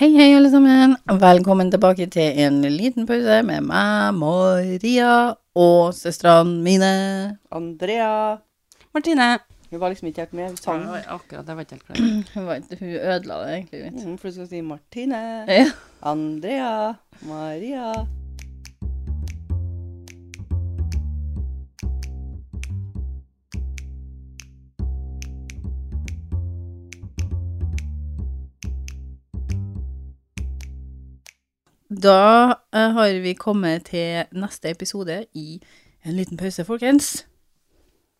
Hei, hei, alle sammen. Velkommen tilbake til en liten pause med meg, Maria, og søstrene mine. Andrea. Martine. Hun var liksom ikke helt med. Hun sang. Ja, akkurat, jeg var ikke helt klar. Hun, var ikke- hun ødela det egentlig litt. Mm, for du skal si Martine, Ja. Andrea, Maria. Da eh, har vi kommet til neste episode i en liten pause, folkens.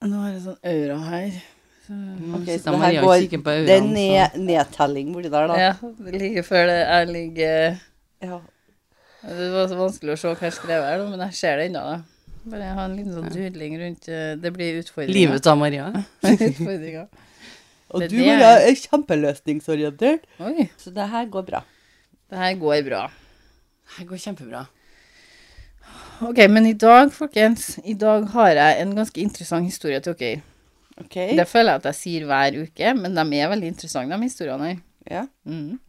Nå har jeg sånn aura her. Så, Ok, Okay, så så det her Maria går- kikker på Det er øynene. ned, nedtelling borti der, da. ja, like før det jeg ligger Ja. Det var så vanskelig å se hva jeg skrev her, men jeg ser det ennå. da. Bare jeg har en liten sånn dudling rundt eh, Det blir så. utfordringer. Livet av Maria. Utfordringer. Og Det er du det. Maria, er kjempeløsningsorientert, Oi. så det her går bra. Det her går bra. Det går kjempebra. Ok, men i dag, folkens, i dag har jeg en ganske interessant historie til dere. OK? Det føler jeg at jeg sier hver uke, men de er veldig interessante, de historiene her. Ja. Mm.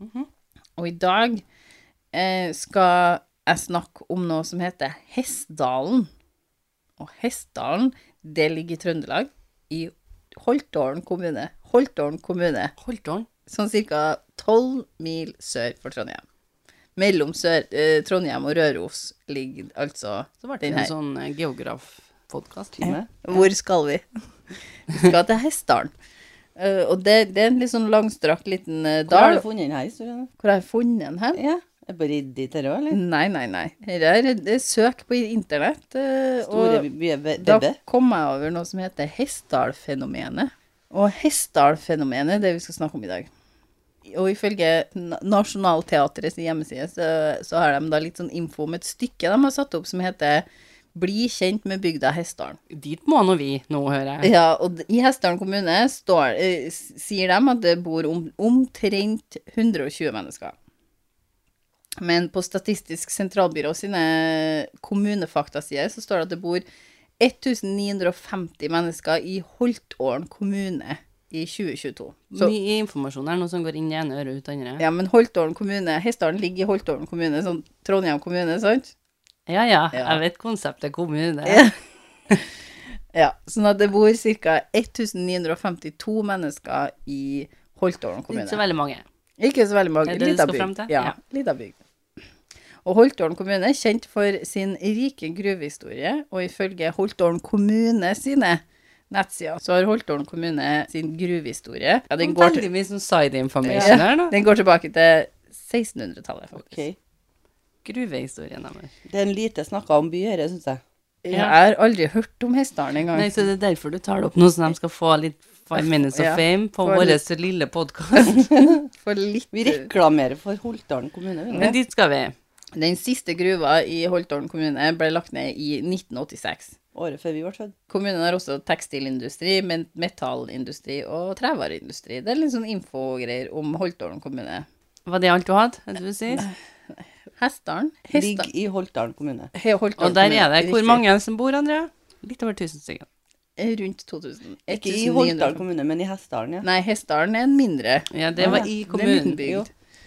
Og i dag eh, skal jeg snakke om noe som heter Hessdalen. Og Hessdalen, det ligger i Trøndelag, i Holtålen kommune. Holtålen kommune, Holtålen. sånn ca. 12 mil sør for Trondheim. Mellom sør, eh, Trondheim og Røros ligger altså Så ble det den en her. sånn eh, geografpodkast. Time. Hvor skal vi? Vi skal til Hessdalen. Eh, og det, det er en litt sånn langstrakt liten eh, Hvor har dal. du funnet denne historien? Hvor har jeg funnet den hen? Ja. Er det på Riddi til det òg, eller? Nei, nei, nei. Her er det er søk på internett. eh, Store og be- be- da bebbe? kom jeg over noe som heter Hessdal-fenomenet. Og Hessdal-fenomenet er det vi skal snakke om i dag. Og ifølge Na- Nationaltheatrets hjemmeside så, så har de da litt sånn info om et stykke de har satt opp som heter Bli kjent med bygda Hessdalen. Dit må nå vi, nå hører jeg. Ja, og d- i Hessdalen kommune står, eh, s- sier de at det bor om, omtrent 120 mennesker. Men på Statistisk sentralbyrå sine kommunefaktasider så står det at det bor 1950 mennesker i Holtålen kommune i 2022. Så, Mye informasjon her, noe som går inn i ene øret og ut i andre. ja, men Holtålen kommune, Hessdalen ligger i Holtålen kommune, sånn Trondheim kommune, sant? Ja, ja, Ja. jeg vet konseptet kommune. Ja. Ja, sånn at det bor ca. 1952 mennesker i Holtålen kommune. Ikke så veldig mange. Ikke så veldig mange. Er det det du Lita skal frem bygd. til? Ja, Ja. lita bygd. Og Holtålen kommune er kjent for sin rike gruvehistorie, og ifølge Holtålen kommune sine nettsider, så har Holtålen kommune sin gruvehistorie. Ja, den, går til, Veldig mye sånn side information her, da. den går tilbake til 1600-tallet, faktisk. OK. Gruvehistorien deres. Det er en lite snakka om by her, syns jeg. Jeg har aldri hørt om Hessdalen engang. Nei, så det er derfor du tar det opp nå, så de skal få litt five minutes of Ja. fame på Få vår lille podkast. For litt Vi reklamerer for Holtdalen kommune. vi nå. Men dit skal vi. Den siste gruva i Holtålen kommune ble lagt ned i 1986. Året før vi ble født. Kommunen har også tekstilindustri, men- metallindustri og trevareindustri. Det er litt sånn infogreier om Holtålen kommune. Var det alt du hadde? er det du sier? Hessdalen Ligger i Holtdalen kommune. He- Holtålen Og der kommune, er det hvor riktig. mange som bor, Andrea? Litt over 1000 stykker. Rundt 2000. Ikke i 1900. Holtdalen kommune, men i Hessdalen, ja. Nei, Hessdalen er en mindre. Ja, det var i Det er en liten kommunen. bygd. Jo.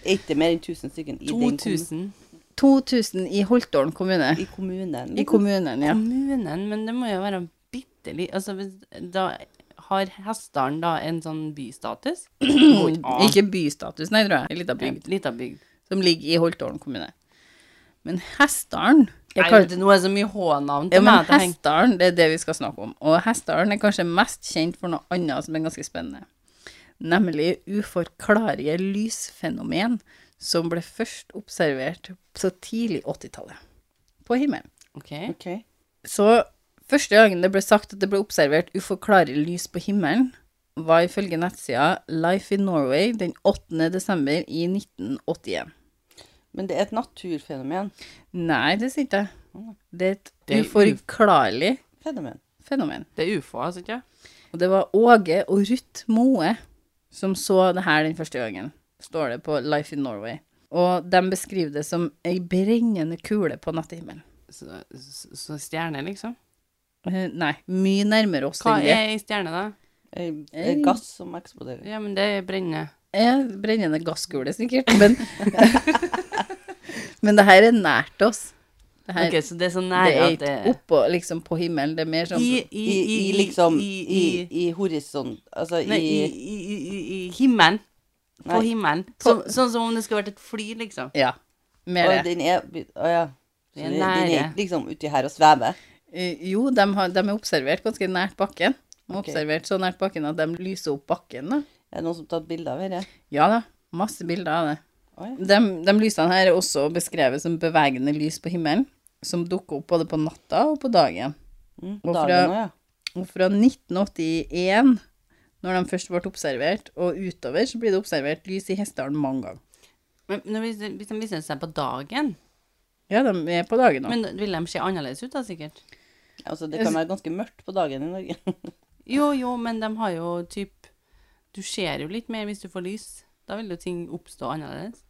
Er ikke mer enn 1000 stykker i den kommunen. 2000. 2000 i Holtålen kommune. I kommunen. I kommunen, ja. Kommunen, men det må jo være bitte litt Altså, hvis- da har Hessdalen da en sånn bystatus? Ikke Ikke bystatus, nei, tror jeg. En liten bygd Lita bygd. som ligger i Holtålen kommunne. Men Hessdalen er Nei, kalt- vet du, nå er det så mye H-navn Ja, til men meg. at jeg tenker- Hessdalen, det er det vi skal snakke om. Og Hessdalen er kanskje mest kjent for noe annet som er ganske spennende. Nemlig uforklarlige lysfenomen som ble først observert så tidlig 80-tallet. På himmelen. Ok. Ok. Så første gangen det ble sagt at det ble observert uforklarlig lys på himmelen, var ifølge nettsida Life in Norway den 8. desember i 1981. Men det er et naturfenomen. Nei, det sier ikke jeg. Det er et Det er u- uforklarlig Fenomen. fenomen. Det er ufo, altså, ikke Og det var Åge og Ruth Moe som så det her den første gangen, står det på Life in Norway. Og de beskriver det som ei brennende kule på nattehimmelen. Så, så, så stjerne, liksom. Eh, Nei, mye nærmere oss Hva enn det. er ei stjerne, da? Eh, eh, Gass som eksploderer. Ja, men det brenner. er brennende gasskule, sikkert. Men, men det her er nært oss. Det her Ok, så det er så det nære er at det ikke oppå liksom på himmelen. Det er mer sånn I, i, liksom I, i, i, horisont Altså Nei, i, i i, i, i, i himmelen. På Nei. himmelen. Som, sånn som om det skulle vært et fly, liksom. Ja. Mer Å, det. den er Å ja. Så Den er den, den er nære. ikke liksom uti her og svever. Eh, Jo, de, har, de er observert ganske nært bakken. De er Ok. observert så nært bakken at de lyser opp bakken. da. Er det noen som har tatt bilde av dette? Ja da, masse bilder av det. Å ja. De, de lysene her er også beskrevet som bevegende lys på himmelen, som dukker opp både på natta og på dagen. Mm, Og fra- dagen òg, ja. Og fra 1981, når de først ble observert, og utover, så blir det observert lys i Hessdalen mange ganger. Men når hvis, hvis de viser seg på dagen Ja, de er på dagen nå. Men vil de se annerledes ut, da, sikkert? Altså, det kan være ganske mørkt på dagen i Norge. Jo, jo, men de har jo typ Du ser jo litt mer hvis du får lys. Da vil jo ting oppstå annerledes.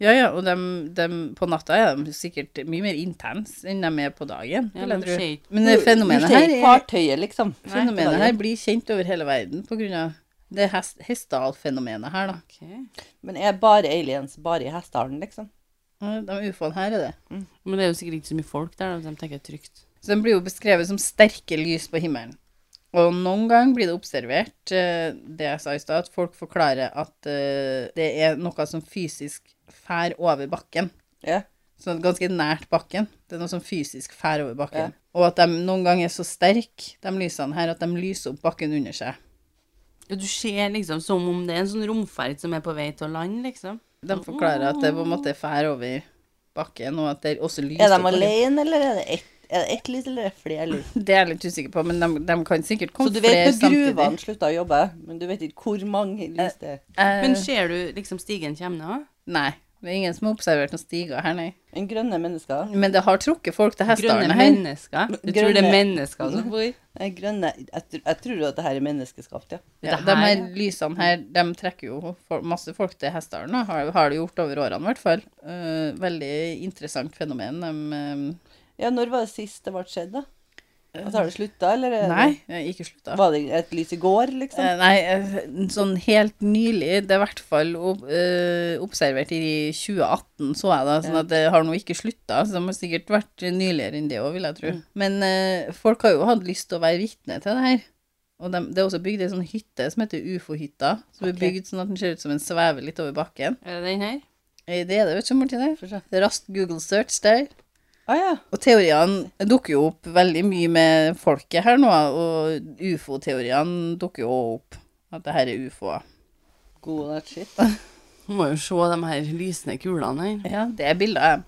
Ja, ja, og de, de, på natta er de sikkert mye mer intense enn de er på dagen. Ja, vil jeg de tro. ser ikke- Men det fenomenet Du ser her ikke er fartøyet, liksom. Fenomenet Nei. her blir kjent over hele verden pga. det hest- Hessdal-fenomenet her, da. Men er bare aliens bare i Hessdalen, liksom? Ja, De ufoene her er det. Men det er jo sikkert ikke så mye folk der, da. De tenker det er trygt. Så de blir jo beskrevet som sterke lys på himmelen. Og noen ganger blir det observert, eh, det jeg sa i stad, at folk forklarer at eh, det er noe som fysisk fær over bakken. Ja. Sånn ganske nært bakken. Det er noe som fysisk fær over bakken. Og at de noen ganger er så sterke, de lysene her, at de lyser opp bakken under seg. Ja, du ser liksom som om det er en sånn romferd som er på vei til å lande, liksom. De forklarer at det på en måte fær over bakken, og at det er også lys Er de opp- alene, eller er det ett er det ett lys, eller er det flere lys? Det er jeg litt usikker på, men de, de kan sikkert Så komme du flere vet når samtidig. gruvene slutta å jobbe, men du vet ikke hvor mange lys det er. Eh, Men ser du liksom stigen kommer nå? Nei, det er ingen som har observert noen stiger her, nei. En grønne mennesker. Men det har trukket folk til Grønne altså, hestene her. Mhm. mennesker. Du tror det er Grønne- mennesker som bor En eh, grønne, jeg, tr- jeg tror jo at det her er menneskeskapt, ja. Ja, Det de her- her lysene her, de trekker jo for, masse folk til hestene, da. har, har det gjort over årene i hvert fall. Eh, veldig interessant fenomen. De, eh, Ja, Når var det sist det ble skjedd, da? Altså, Har det slutta, eller? er det- nei, eh, ikke slutta. Var det et lys i går, liksom? Eh, Nei, eh, sånn helt nylig, det er i hvert fall ob- eh, observert i 2018, så jeg da, sånn at det har nå ikke slutta, så det må sikkert vært nyligere enn det òg, vil jeg tro. Mm. Men eh, folk har jo hatt lyst til å være vitne til det her. Og dem- det er også bygd ei sånn hytte som heter ufo-hytta, som er Ok. bygd sånn at den ser ut som en svever litt over bakken. Er det den her? Eh, Det er det, vet du, Martine. Få se. Det er Raskt Google search der. Å Ah, ja. Og teoriene dukker jo opp veldig mye med folket her nå, og ufo-teoriene dukker jo også opp. At det her er ufoer. God that shit. Du må jo se de her lysende kulene her. Ja, det er bilder av dem.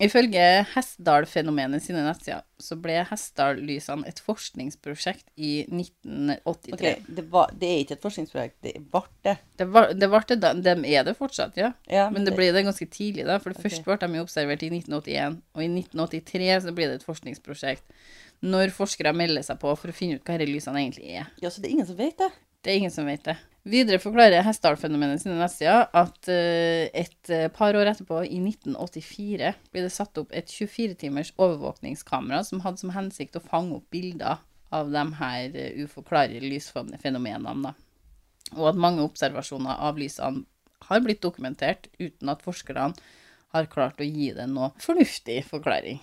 Ifølge Hessdal-fenomenet sine nettsider så ble Hessdal-lysene et forskningsprosjekt i 1983. Ok, det, var, det er ikke et forskningsprosjekt, det ble det. Det, var, det ble det da, de er det fortsatt, ja. Ja, Men det ble det ganske tidlig, da. For det Ok. først ble de jo observert i 1981, og i 1983 så blir det et forskningsprosjekt. Når forskere melder seg på for å finne ut hva disse lysene egentlig er. Ja, så det er ingen som vet det. Det er ingen som vet det. Videre forklarer Hessdal-fenomenet sine nettsider at eh, et eh, par år etterpå, i 1984, blir det satt opp et 24-timers overvåkningskamera som hadde som hensikt å fange opp bilder av de her eh, uforklarlige lysfenomenene. Da. Og at mange observasjoner av lysene har blitt dokumentert uten at forskerne har klart å gi det noe fornuftig forklaring.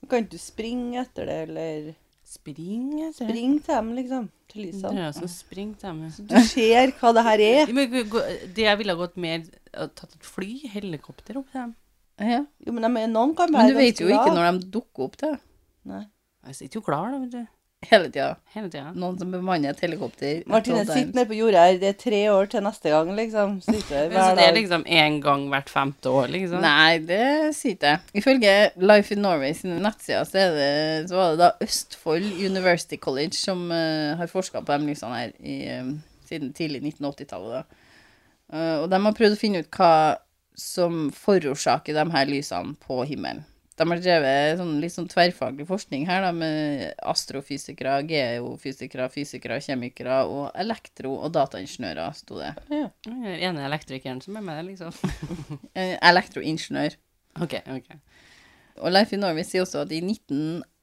Men Kan ikke du springe etter det, eller Spring, jeg Sånn. tror. Spring til dem, liksom. Til Det lysene. er jo som spring til dem. Du ser hva det her er. Ja, Men, gå- gå- det jeg ville ha gått mer eh, Tatt et fly, helikopter opp til dem. Ja. Jo, men de er, noen kan være Men du vet ganske jo ikke glad. når de dukker opp til det. Nei. Jeg sitter jo klar, da, vet du. hele tida. Hele tida. Noen som bemanner et helikopter. Martine, at all sitt times. ned på jordet her. Det er tre år til neste gang, liksom. Sitter her Så hver det er dag. liksom én gang hvert femte år, liksom? Nei, det sier ikke jeg. Ifølge Life in Norway sine nettsider så, er det, så var det da Østfold University College som eh, har forska på de lysene her i, eh, siden tidlig 1980-tallet. da. Eh, og de har prøvd å finne ut hva som forårsaker de her lysene på himmelen. De har drevet sånn, litt sånn tverrfaglig forskning her da, med astrofysikere, geofysikere, fysikere, kjemikere og elektro- og dataingeniører, sto det. Den ene elektrikeren som er med, liksom. Eh, elektroingeniør. OK. ok. Og Leif i Norway sier også at i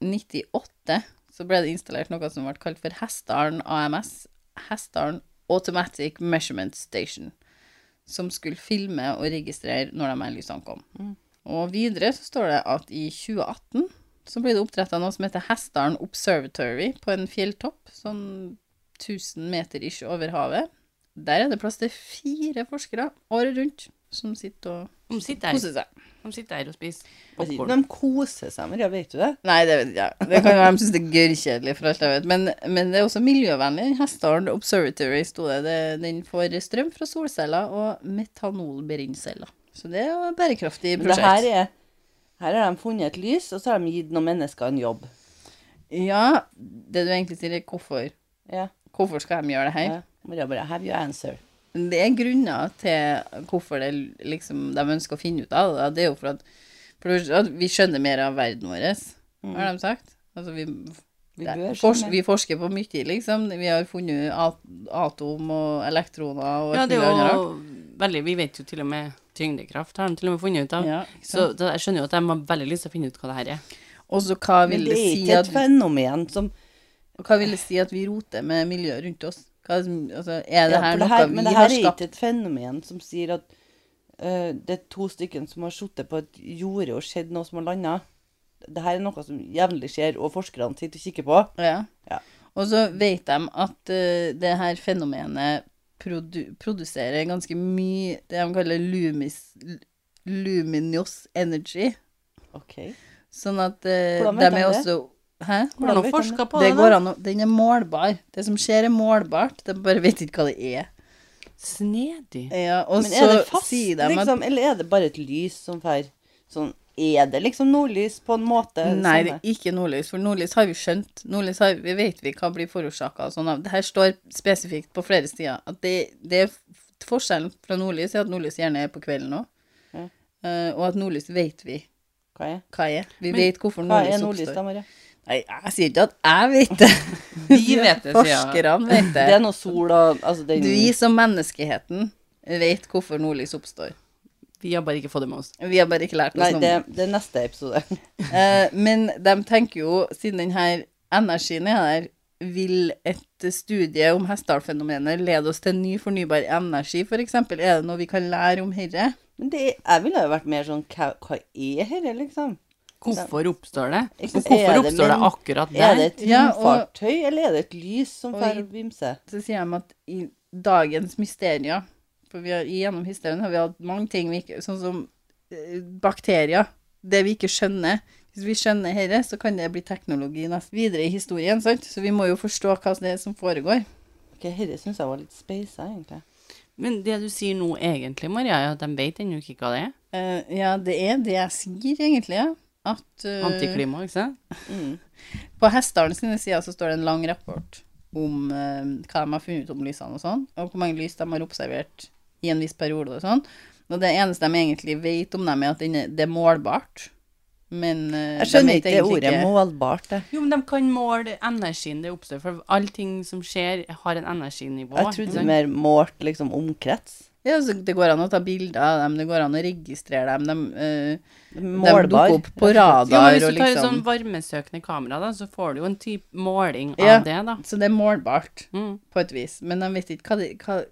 1998 så ble det installert noe som ble kalt for Hessdalen AMS, Hessdalen Automatic Measurement Station, som skulle filme og registrere når de endelig ankom. Og videre så står det at i 2018 så ble det opprettet noe som heter Hessdalen Observatory på en fjelltopp, sånn 1000 meter ish over havet. Der er det plass til fire forskere året rundt som sitter og De sitter her, koser seg. de sitter her og spiser Jeg sier, popkorn. De koser seg med det, vet du det? Nei, det vet jeg. ikke. Det kan være de syns det er gørrkjedelig, for alt jeg vet. Men, men det er også miljøvennlig. Hessdalen Observatory sto det. det. Den får strøm fra solceller og metanolbrennceller. Så det er jo et bærekraftig Men det her prosjekt. er her har de funnet et lys, og så har de gitt noen mennesker en jobb. Ja, det du egentlig sier, er hvorfor. Ja. Hvorfor skal de gjøre det her? ja. Men det er bare, Have you answer? Men Det er grunner til hvorfor det, liksom, de ønsker å finne ut av det. da. Det er jo for at, for det første at vi skjønner mer av verden vår, har de sagt. Altså, vi, Mm. Vi det- bør fors, skjønne. vi forsker på mye, liksom. Vi har funnet at- atom og elektroner og Ja, alt det mulig er annet jo rart. veldig Vi vet jo til og med tyngdekraft, har de til og med funnet ut av. Ja, ikke så sant? da, jeg skjønner jo at de har veldig lyst til å finne ut hva det her er. Og så hva Men vil det det er si ikke at et fenomen som Hva vil det si at vi roter med miljøet rundt oss? Hva, som- altså, er det Ja, her noe for det her, vi men det har her er skapt? ikke et fenomen som sier at eh, det er to stykker som har sittet på et jorde og sett noe som har landa. Det her er noe som jevnlig skjer, og forskerne sitter og kikker på. Ja. Ja. Og så vet de at eh, det her fenomenet produ produserer ganske mye det de kaller lumis, l- luminous energy. OK. Sånn at eh, Hvordan de vet er de det? også Hæ? Har Hvordan noen vet de forska på Det det? går da? an å Den er målbar. Det som skjer, er målbart. De bare vet ikke hva det er. Snedig. Ja, og Men er det så fast, sier de at liksom? Eller er det bare et lys som fer sånn Er det liksom nordlys på en måte? det Nei, det Eh, samme? er ikke nordlys, for nordlys har vi skjønt. Nordlys har, vi vet vi hva blir forårsaka og sånn av. Det her står spesifikt på flere stier. At det, det er f- forskjellen fra nordlys er at nordlys gjerne er på kvelden òg. Ja. og at nordlys vet vi Hva er, hva er. Vi Men vet hvorfor hva nordlys, er nordlys, da, oppstår. Maria? Nei, jeg sier ikke at jeg vet det. Vi vet det, sier jeg. Forskerne vet Det er noe sol og altså den, Vi som menneskeheten vet hvorfor nordlys oppstår. Vi har bare ikke fått det med oss. Vi har bare ikke lært oss Nei, noe om det, det. det er neste episode. Eh, men de tenker jo, siden denne energien er der, vil et studie om Hessdal-fenomenet lede oss til ny fornybar energi, f.eks.? For eksempel? er det noe vi kan lære om herre? Men det, jeg ville jo vært mer sånn Hva, hva er dette, liksom? Hvorfor oppstår det? Ikke Og sant, hvorfor er det, oppstår det men- akkurat Er det der? et Ja, og- romfartøy, eller er det et lys som Og får i- vimse? Så sier de at i dagens mysterier For vi har, gjennom historien har vi hatt mange ting vi ikke Sånn som eh, bakterier. Det vi ikke skjønner. Hvis vi skjønner herre, så kan det bli teknologi nest videre i historien. sant? Så vi må jo forstå hva det er som foregår. Ok, Dette syns jeg var litt speisa, egentlig. Men det du sier nå egentlig, Maria, er at de vet ennå ikke hva det er. Eh, ja, det er det jeg sier, egentlig. Ja. At eh, Antiklima, ikke sant? På Hessdalen sine sider så står det en lang rapport om eh, hva de har funnet ut om lysene og sånn, og hvor mange lys de har observert i en viss periode og sånn. Og det eneste de egentlig vet om dem, er at den er- det er målbart. Men eh, Jeg de skjønner vet ikke det egentlig ordet målbart. Jeg, Jo, men de kan måle energien det oppstår, for allting som skjer, har en energinivå. jeg ikke trodde sant? mer målt liksom omkrets. Ja, så det går an å ta bilder av dem, det går an å registrere dem. De, eh, de Målbar. dukker opp på Ja, men radar hvis og du tar et liksom sånn varmesøkende kamera, da, så får du jo en type måling av Ja. det, da. Så det er målbart, Mm. på et vis. Men de vet ikke hva de, hva,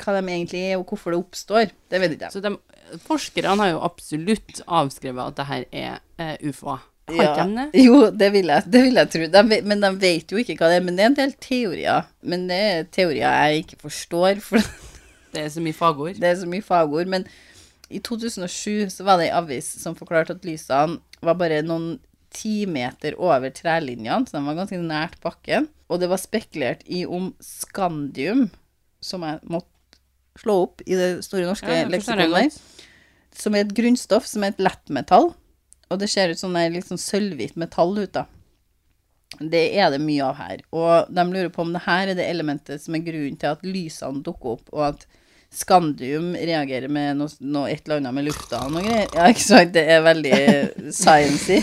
hva de egentlig er, og hvorfor det oppstår. Det vet ikke de. Så de, forskerne har jo absolutt avskrevet at det her er eh, ufoer. Har Ja. ikke de det? Jo, det vil jeg, det vil jeg tro. De, ve- men de vet jo ikke hva det er. Men det er en del teorier. Men det er teorier jeg ikke forstår, for Det er så mye fagord. det er så mye fagord. Men i 2007 så var det ei avis som forklarte at lysene var bare noen timeter over trærlinjene, så de var ganske nært bakken. Og det var spekulert i om skandium, som jeg måtte slå opp i det store norske Ja, sånn ja, forstår jeg leksikon der, som er et grunnstoff som er et lettmetall. Og det ser ut som det er litt sånn sølvhvitt metall ut, da. Det er det mye av her. Og de lurer på om det her er det elementet som er grunnen til at lysene dukker opp, og at Skandium reagerer med noe, noe et eller annet med lufta og noe greier. Ja, ikke sant? Det er veldig sciency.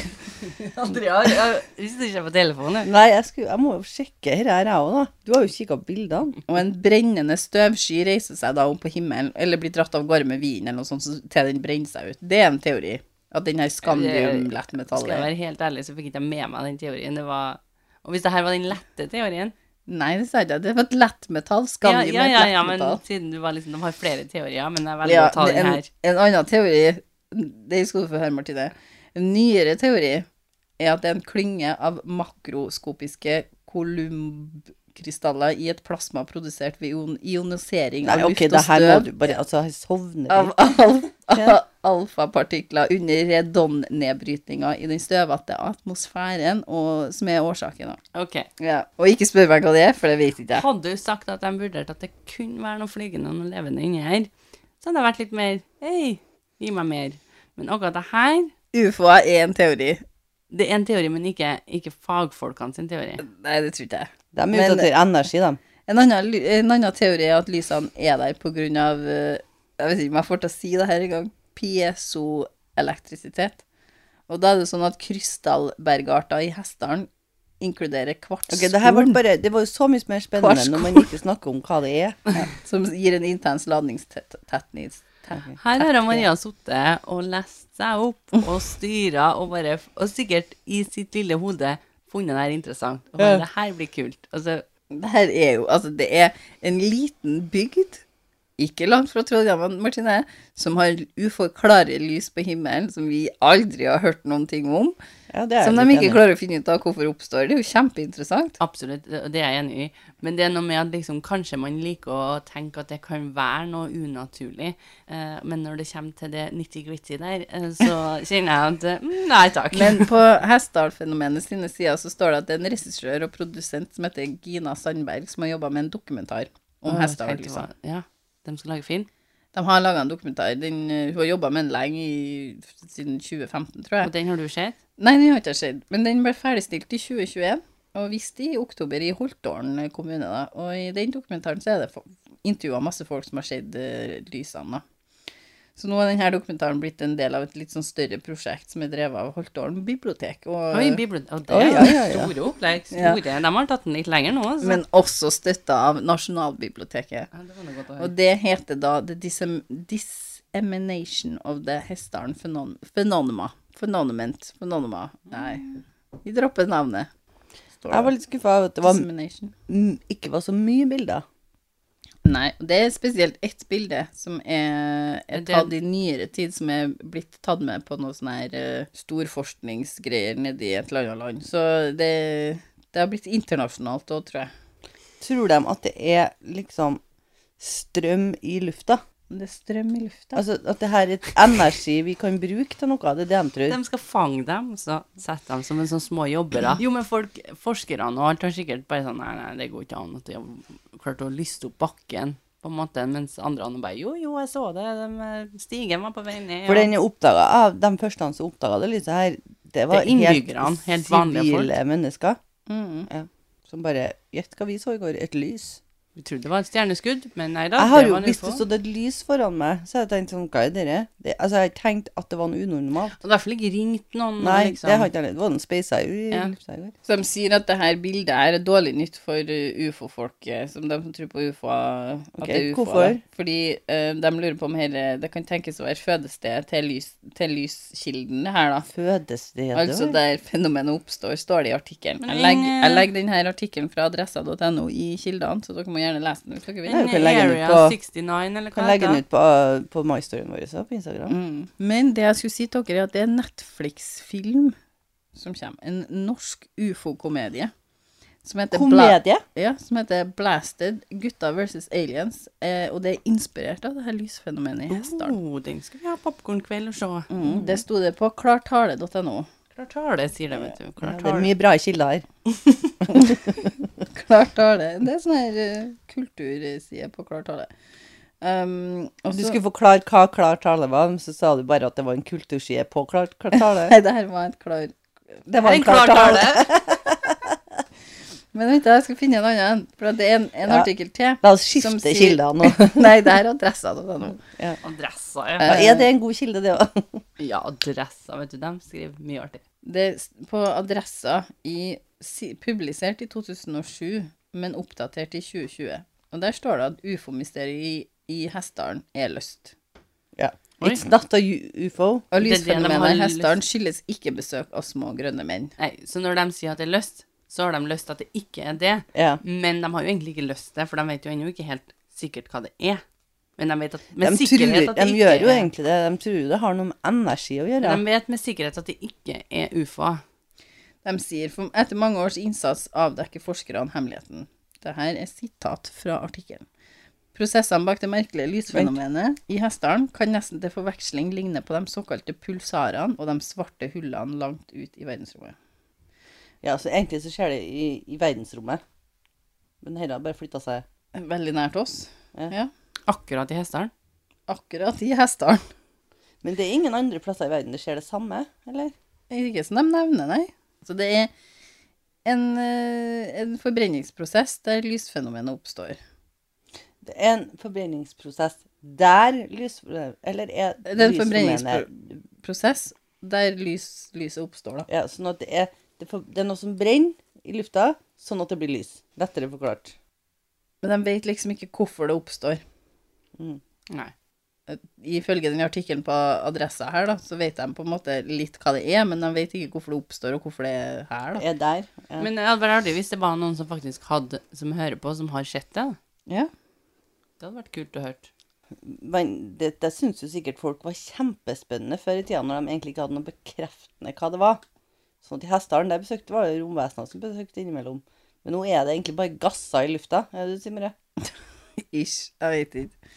Andrea, jeg rister ikke på telefonen. Nei, jeg, skulle, jeg må jo sjekke dette her, jeg òg, da. Du har jo kikka på bildene. Og en brennende støvsky reiser seg da opp på himmelen, eller blir dratt av gårde med vinden eller noe sånt, så til den brenner seg ut. Det er en teori. At den her eh, Skal jeg skandium-lettmetallet være helt ærlig, så fikk ikke jeg med meg den teorien. Det var... Og hvis det her var den lette teorien, Nei, det sa jeg ikke. Det var et lettmetall. Skandium ja, er ja, et ja, men lettmetall. siden du var liksom, de har flere teorier, men jeg velger Ja, å ta den en, her. en annen teori, det skal du få høre, Martine. En nyere teori er at det er en klynge av makroskopiske kolumbkrystaller i et plasma produsert ved ion- ionisering Nei, av luft OK, og det her må støv du bare Altså, jeg sovner av litt. al- Ja. alfapartikler under redonnedbrytninga i den støvete atmosfæren, og, som er årsaken. da. Ok. Ja. Og ikke spør meg hva det er, for det vet ikke jeg. Hadde du sagt at de vurderte at det kunne være noe flygende og noe levende inni her, så hadde jeg vært litt mer Hei, gi meg mer. Men akkurat det her Ufoer er en teori. Det er en teori, men ikke, ikke fagfolkene sin teori. Nei, det tror ikke jeg. De er Men- ute etter energi, de. En annen, ly- en annen teori er at lysene er der på grunn av eh, Jeg vet ikke om jeg får til å si det her engang. Piezoelektrisitet. Og da er det sånn at krystallbergarter i Hessdalen inkluderer Ok, det her ble kvartskorn, bare Det var jo så mye mer spennende når man ikke snakker om hva det er. som gir en intens ladningstettnis. Her har Maria sittet og lest seg opp Mm. og styra og bare Og sikkert i sitt lille hode funnet det her interessant. Og Ja. bare, det her blir kult. Altså, Og så Det her er jo Altså, det er en liten bygd, ikke langt fra Trondheimen, Martine, som har uforklarlig lys på himmelen, som vi aldri har hørt noen ting om. Ja, det er jeg Som de litt ikke enig i. klarer å finne ut av hvorfor oppstår. Det er jo kjempeinteressant. Absolutt, og det er jeg enig i. Men det er noe med at liksom, kanskje man liker å tenke at det kan være noe unaturlig, eh, men når det kommer til det nitty-gritty der, eh, så kjenner jeg at eh, mm, Nei takk. Men på Hessdal-fenomenet sine sider så står det at det er en regissør og produsent som heter Gina Sandberg, som har jobba med en dokumentar om Åh, Hessdal. tenkte jeg Liksom. hva- Ja, de skal lage film. De har laga en dokumentar. Den, eh, hun har jobba med den lenge, i, siden 2015, tror Og jeg. den har du sett? Nei, den har ikke jeg sett. Men den ble ferdigstilt i 2021, og vist i oktober i Holtålen kommune. da. Og i den dokumentaren så er det intervjua masse folk som har sett eh, lysene. da. Så nå er denne dokumentaren blitt en del av et litt sånn større prosjekt som er drevet av Holtålen bibliotek. Og, Oi, bibel... Og det Oi, er ja, ja, ja. store opplegg. Ja. Store. De har tatt den litt lenger nå. altså. men også støtta av Nasjonalbiblioteket. ja, det var noe godt å høre. Og det heter da The Dissem Dissemination of the Hessdalen Phenon Phenonema. Phenonement. Phenonema. Nei, vi dropper navnet. Står Jeg var det. litt skuffa over at det var, Dissemination. mm, ikke var så mye bilder. Nei, og det er spesielt ett bilde som er, er Men det- tatt i nyere tid, som er blitt tatt med på noe sånn her eh, storforskningsgreier nede i et eller annet land. Så det, det har blitt internasjonalt òg, tror jeg. Tror de at det er liksom strøm i lufta? Det er strøm i lufta. Altså at det her er et energi vi kan bruke til noe? Det er det de tror. De skal fange dem, så sette dem som en sånn små jobbere. Jo, men folk, forskerne og alt har sikkert bare sånn Nei, nei, det går ikke an at de har klart å lyste opp bakken, på en måte, mens andre andre bare Jo, jo, jeg så det, de eh, stigen var på vei ned. For og- den er oppdaga av de første som oppdaga det lyset her, det var Det er innbyggerne, helt vanlige sivile mennesker. Mm. Ja. Som bare Gjett hva vi så i går? Et lys. Vi trodde det var et stjerneskudd, men nei da. Jeg har det jo, var en Hvis ufo. det stod et lys foran meg, så hadde jeg tenkt sånn Hva er dette? Det, altså, jeg har tenkt at det var noe unormalt. Og derfor ikke ringt noen. Nei, liksom. det har ikke jeg Det var noen spacer i Ja. lufta i går. Så de sier at det her bildet her er dårlig nytt for uh, ufo-folket, som de som tror på ufo. Ok, at det er ufo hvorfor? da. Fordi eh, de lurer på om her, eh, det kan tenkes å være fødestedet til, lys, til lyskilden her, da. Fødestedet Altså der fenomenet oppstår, står det i artikkelen. Men Jeg legger, den, eh, jeg legger denne artikkelen fra adressa.no i kildene, så dere må gjerne lese den hvis dere vil. Ja. En du kan legge den ut Area på- 69, eller Kan hva legge den heter det? ut på, på MyStoryen vår også, på Instagram. Mm. Men det jeg skulle si til dere, er at det er en Netflix-film som kommer. En norsk ufo-komedie. Som heter, Bla Komedie? ja, som heter Blasted Gutta versus Aliens. Eh, og det er inspirert av det her lysfenomenet i Hessdalen. Oh, den skal vi ha popkornkveld og se. Mm. Det sto det på klartale.no. Klart har det, sier det, vet du. Ja, Klart det har er det. mye bra kilder her. Klartale. Det er sånn her eh, kulturside på Klartale. Um, og Du så- skulle forklare hva klar tale var, men så sa du bare at det var en kulturside på klar, klar tale. Nei, det her var et klar Det var En en klar tale. Men vent, jeg skal finne en annen. For at det er en, en Ja. artikkel til. La oss Som skifte sier- kilder nå. Nei, det her er adressa da, nå. Adressa, ja. Ja, er det en god kilde, det òg? Ja, adressa, vet du. De skriver mye artig. Det er s- på adressa i si, Publisert i 2007, men oppdatert i 2020. Og der står det at ufo-mysteriet i, i Hessdalen er løst. Ja. Oi. It's not a u- ufo. Og Det er det de har lysfenomenet i lyst- Hessdalen skyldes ikke besøk av små grønne menn. Nei, så når de sier at det er løst, så har de lyst til at det ikke er det. Ja. Men de har jo egentlig ikke lyst til det, for de vet jo ennå ikke helt sikkert hva det er. Men de vet at, med De, sikkerhet tror, at det de ikke gjør jo er egentlig det. De tror det har noe med energi å gjøre. De vet med sikkerhet at det ikke er ufoer. De sier for etter mange års innsats avdekker forskerne hemmeligheten. Dette er sitat fra artikkelen. Prosessene bak det merkelige lysfenomenet i Hessdalen kan nesten til forveksling ligne på de såkalte pulsarene og de svarte hullene langt ut i verdensrommet. Ja, så egentlig så skjer det i, i verdensrommet. Men dette har bare flytta seg. Veldig nært oss. Ja. Ja. Akkurat i Hessdalen. Akkurat i Hessdalen. Men det er ingen andre plasser i verden det skjer det samme, eller? Det er Ikke som de nevner, nei. Så det er en, eh, en forbrenningsprosess der lysfenomenet oppstår. Det er en forbrenningsprosess der lys... Eller er Det er en lysfenomenet- forbrenningsprosess der lys, lyset oppstår, da. Ja, sånn at det er, det, for, det er noe som brenner i lufta, sånn at det blir lys. Lettere forklart. Men de vet liksom ikke hvorfor det oppstår. Nei. Ifølge den artikkelen på adressa her, da, så vet de på en måte litt hva det er, men de vet ikke hvorfor det oppstår, og hvorfor det er her, da. Er der. Ja. Men det hadde vært artig hvis det var noen som faktisk hadde, som hører på, som har sett det. da. Ja. Det hadde vært kult å høre. Men det, det syns jo sikkert folk var kjempespennende før i tida, når de egentlig ikke hadde noe bekreftende hva det var. Sånn at i Hessdalen der besøkte var det romvesener som besøkte innimellom. Men nå er det egentlig bare gasser i lufta. Er det du, Simre? Ish. Jeg vet ikke.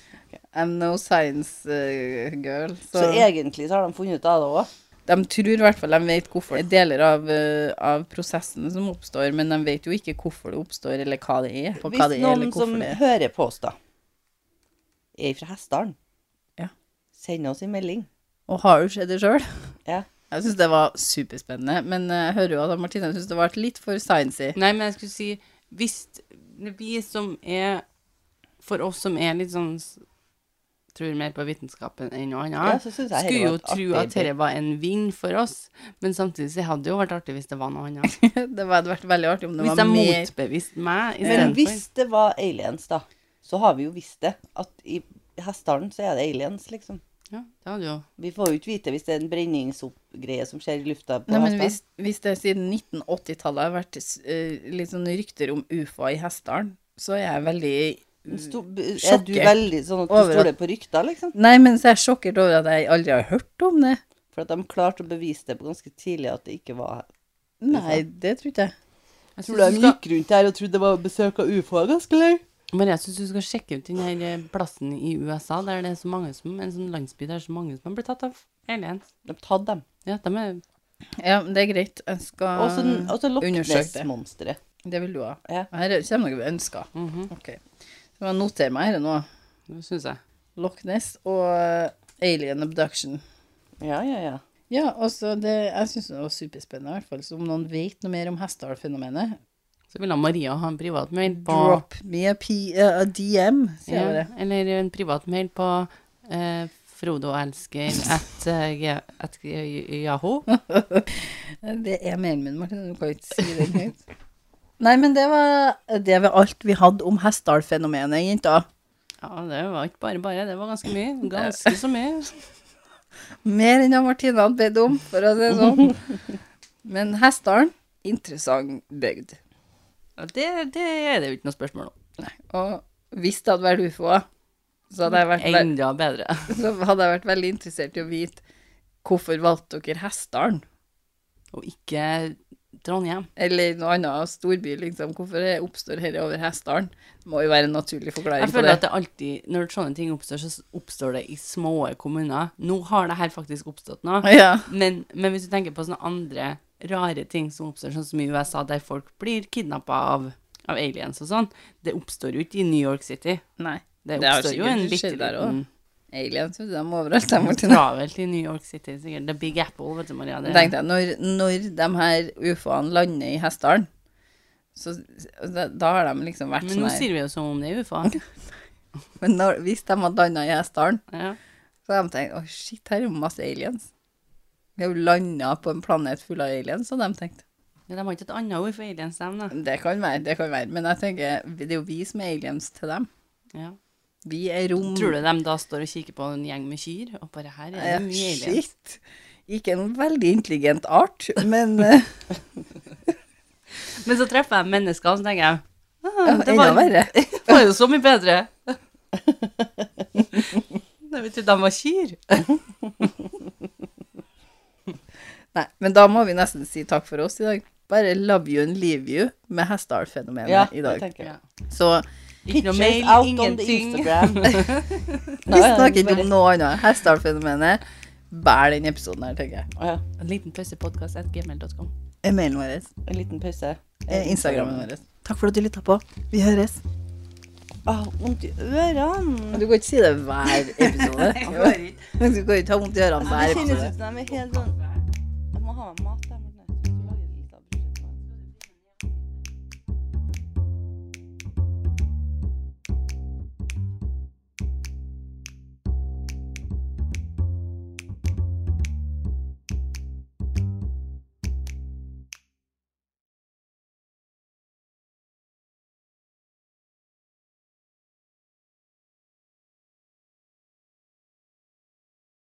I'm no science eh, girl. Så egentlig så har de funnet ut av det òg. De tror i hvert fall de vet hvorfor det er deler av, eh, av prosessene som oppstår, men de vet jo ikke hvorfor det oppstår, eller hva det er. For hva Hvis det er, eller noen som hvorfor det er. hører på oss, da, er fra Hessdalen, Ja. send oss en melding. Og har jo skjedd det sjøl. Ja. Jeg syns det var superspennende, men eh, jeg hører jo at Martine syns det var litt for sciency. Nei, men jeg skulle si Hvis vi som er For oss som er litt sånn s- Tror mer på vitenskapen enn noe annet, Ja, så synes jeg skulle heller jo var et tro artig at dette var en vinn for oss. Men samtidig så hadde det jo vært artig hvis det var noe annet. Det hadde vært veldig artig om det Hvis var de mer motbeviste meg Men istedenfor. hvis det var aliens, da, så har vi jo visst det. At i Hessdalen så er det aliens, liksom. Ja, det hadde jo Vi får jo ikke vite hvis det er en brenningsoppgreie som skjer i lufta. på Nei, men Hessdalen. hvis, hvis det siden 1980-tallet har vært eh, litt sånn rykter om ufoer i Hessdalen, så er jeg veldig Men sto- b- Er du Sjokkert veldig sånn at du over at- stoler på rykter, liksom? Nei, men så er jeg sjokkert over at jeg aldri har hørt om det. For at de klarte å bevise det på ganske tidlig at det ikke var Nei, det tror ikke jeg. jeg Tror de synes du skal, gikk rundt her og trodde det var besøk av ufoer ganske lenge? Maria, jeg syns du skal sjekke ut den her eh, plassen i USA der det er så mange som En sånn landsby der så mange som har blitt tatt av aliens. De tatt dem. Ja, de er Ja, men det er greit. Jeg skal Og så og så Loch undersøk det. Ness-monsteret. Det vil du ha. Ja. Her er- kommer noe vi ønsker. Ok. Så må jeg notere meg her nå. Det syns jeg. Loch Ness og eh, alien abduction. Ja, ja, ja. Ja, altså, det, jeg syns det var superspennende, i hvert fall. Så om noen vet noe mer om Hessdal-fenomenet, Så ville Maria ha en privat mail på drop me a, p eh, a DM, sier jeg Ja, bare. eller en privat mail på eh, frodoelsker at, eh, ja- at eh, Yahoo. Det er mailen min, Martin. Du kan jo ikke si den høyt. Nei, men det var det var alt vi hadde om Hessdal-fenomenet, jenta. Ja, det var ikke bare bare, det var ganske mye. Ganske så mye. Mer enn jeg og Martine hadde bedt om, for å si det sånn. Men Hessdalen, interessant bygd. Ja, Det, det er det jo ikke noe spørsmål om. Og hvis det hadde vært ufoer, så, hadde jeg vært ve- Enda bedre. så hadde jeg vært veldig interessert i å vite hvorfor valgte dere Hessdalen? Og ikke Trondheim. Eller noe annet storby, liksom. Hvorfor det oppstår dette over Hessdalen? Det må jo være en naturlig forklaring Jeg på føler det. at det alltid, når sånne ting oppstår, så s- oppstår det i små kommuner. Nå har det her faktisk oppstått nå. Ja. Men, men hvis du tenker på sånne andre rare ting som oppstår, sånn som i USA, der folk blir kidnappa av, av aliens og sånn, det oppstår jo ikke i New York City. Nei. Det har oppstår jo sikkert en skjedd bitte der også. liten Aliens, vet du, de er overalt. De, Martine. travelt i New York City, sikkert. The Big Apple, vet du, Maria. Da Det, tenkte jeg, når, når de her ufoene lander i Hessdalen, så da, da har de liksom vært men sånn nå her. sier vi jo som om det er UFA. Men når, hvis de hadde landa i Hessdalen, Ja. så hadde de tenkt å shit, her er jo masse aliens. Vi har jo landa på en planet full av aliens, hadde de tenkt. Men de har ikke et annet ord for aliens, dem, da. Det kan være, det kan være. Men jeg tenker, det er jo vi som er aliens til dem. Ja. Vi er rom. Tror du de da står og kikker på en gjeng med kyr, og bare her er Ja, det mye aliens? shit. Ikke en veldig intelligent art, men eh, Men så treffer jeg mennesker, og så tenker jeg Ja, ah, det, Enda var, verre. det var jo så mye bedre. Jeg vet ikke, de var kyr. Nei, men da må vi nesten si takk for oss i dag. Bare love you and leave you med hestehal-fenomenet Ja, i det dag. tenker jeg. Så Ikke noe Pictures mail, out on the ingenting. Instagram. vi snakker ikke bare- om noe annet. Hestehal-fenomenet bærer den episoden her, tenker jeg. Å ja. En liten pøssepodkast at gmail.com. E-mailen vår. En liten pause. eh, Instagrammen vår. Takk for at du lytta på. Vi høres. Åh, Ah, vondt i ørene. Du kan ikke si det hver episode. går ikke. Du kan ikke ha vondt i ørene Det hver kjennes episode. ut som de er helt sånn Jeg må ha meg mat.